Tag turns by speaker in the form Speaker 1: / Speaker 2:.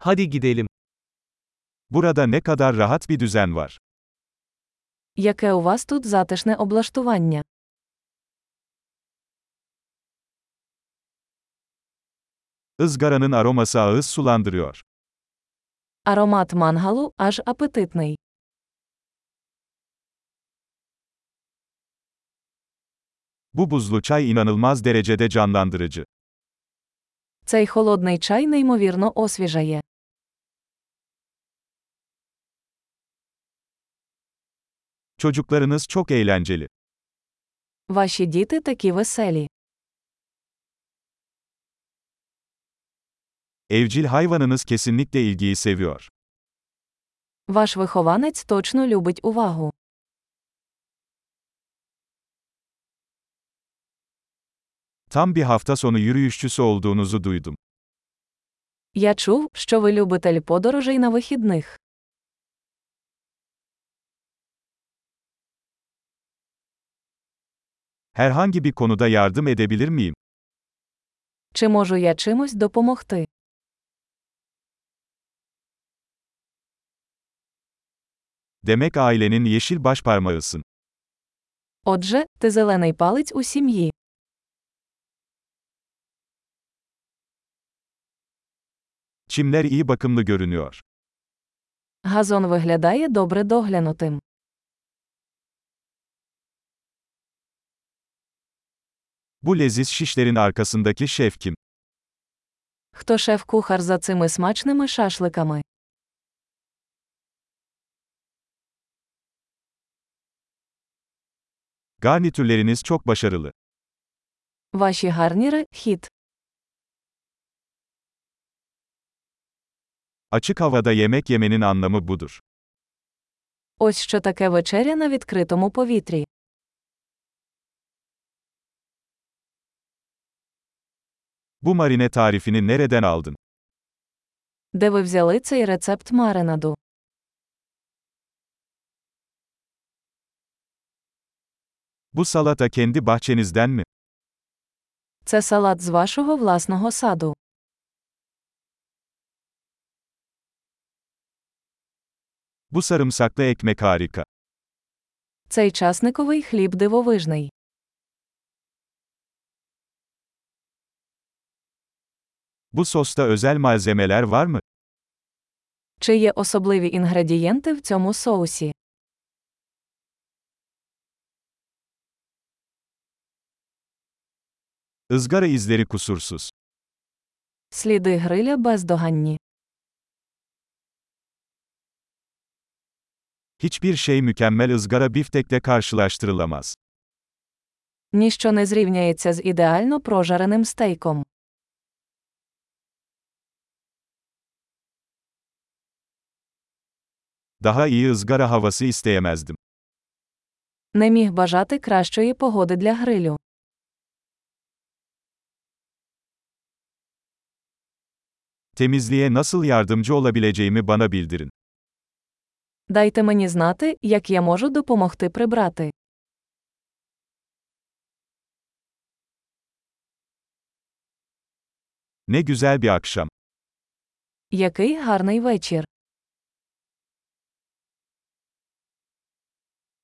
Speaker 1: Hadi gidelim.
Speaker 2: Burada ne kadar rahat bir düzen var.
Speaker 3: Яке у вас тут затишне облаштування?
Speaker 2: Izgaranın aroması ağız sulandırıyor.
Speaker 3: Аромат мангалу аж апетитний.
Speaker 2: Bu buzlu çay inanılmaz derecede canlandırıcı.
Speaker 3: Цей холодний чай неймовірно освіжає.
Speaker 2: Çocuklarınız çok eğlenceli.
Speaker 3: Ваші діти такі веселі.
Speaker 2: Evcil hayvanınız kesinlikle ilgiyi seviyor.
Speaker 3: Ваш вихованець точно любить увагу.
Speaker 2: Tam bir hafta sonu yürüyüşçüsü olduğunuzu duydum.
Speaker 3: Я чув, що ви любитель подорожей на вихідних.
Speaker 2: Herhangi bir konuda yardım edebilir miyim?
Speaker 3: Чи можу я чимось допомогти?
Speaker 2: Demek ailenin yeşil başparmağısın.
Speaker 3: Отже, ти зелений палець у сім'ї.
Speaker 2: Çimler iyi bakımlı görünüyor.
Speaker 3: Газон виглядає добре доглянутим.
Speaker 2: Bu leziz şişlerin arkasındaki şef kim?
Speaker 3: Хто шеф-кухар за цими смачними шашликами?
Speaker 2: Garnitürleriniz çok başarılı.
Speaker 3: Ваші гарніри хіт.
Speaker 2: Açık havada yemek yemenin anlamı budur.
Speaker 3: Ось що таке вечеря на відкритому повітрі.
Speaker 2: Bu marine tarifini nereden aldın?
Speaker 3: Де ви взяли цей рецепт маринаду?
Speaker 2: Bu salata kendi bahçenizden mi?
Speaker 3: Це салат з вашого власного саду.
Speaker 2: Bu sarımsaklı ekmek harika.
Speaker 3: Цей часниковий хліб дивовижний.
Speaker 2: Bu sosta özel malzemeler var mı?
Speaker 3: Чи є особливі інгредієнти в цьому соусі?
Speaker 2: Izgara izleri kusursuz.
Speaker 3: Сліди гриля бездоганні.
Speaker 2: Hiçbir şey mükemmel ızgara biftekle karşılaştırılamaz.
Speaker 3: Ніщо не зрівняється з ідеально прожареним стейком.
Speaker 2: Daha iyi ızgara havası isteyemezdim.
Speaker 3: Не міг бажати кращої погоди для грилю.
Speaker 2: Temizliğe nasıl yardımcı olabileceğimi bana bildirin.
Speaker 3: Дайте мені знати, як я можу допомогти прибрати.
Speaker 2: Ne güzel bir akşam.
Speaker 3: Який гарний вечір.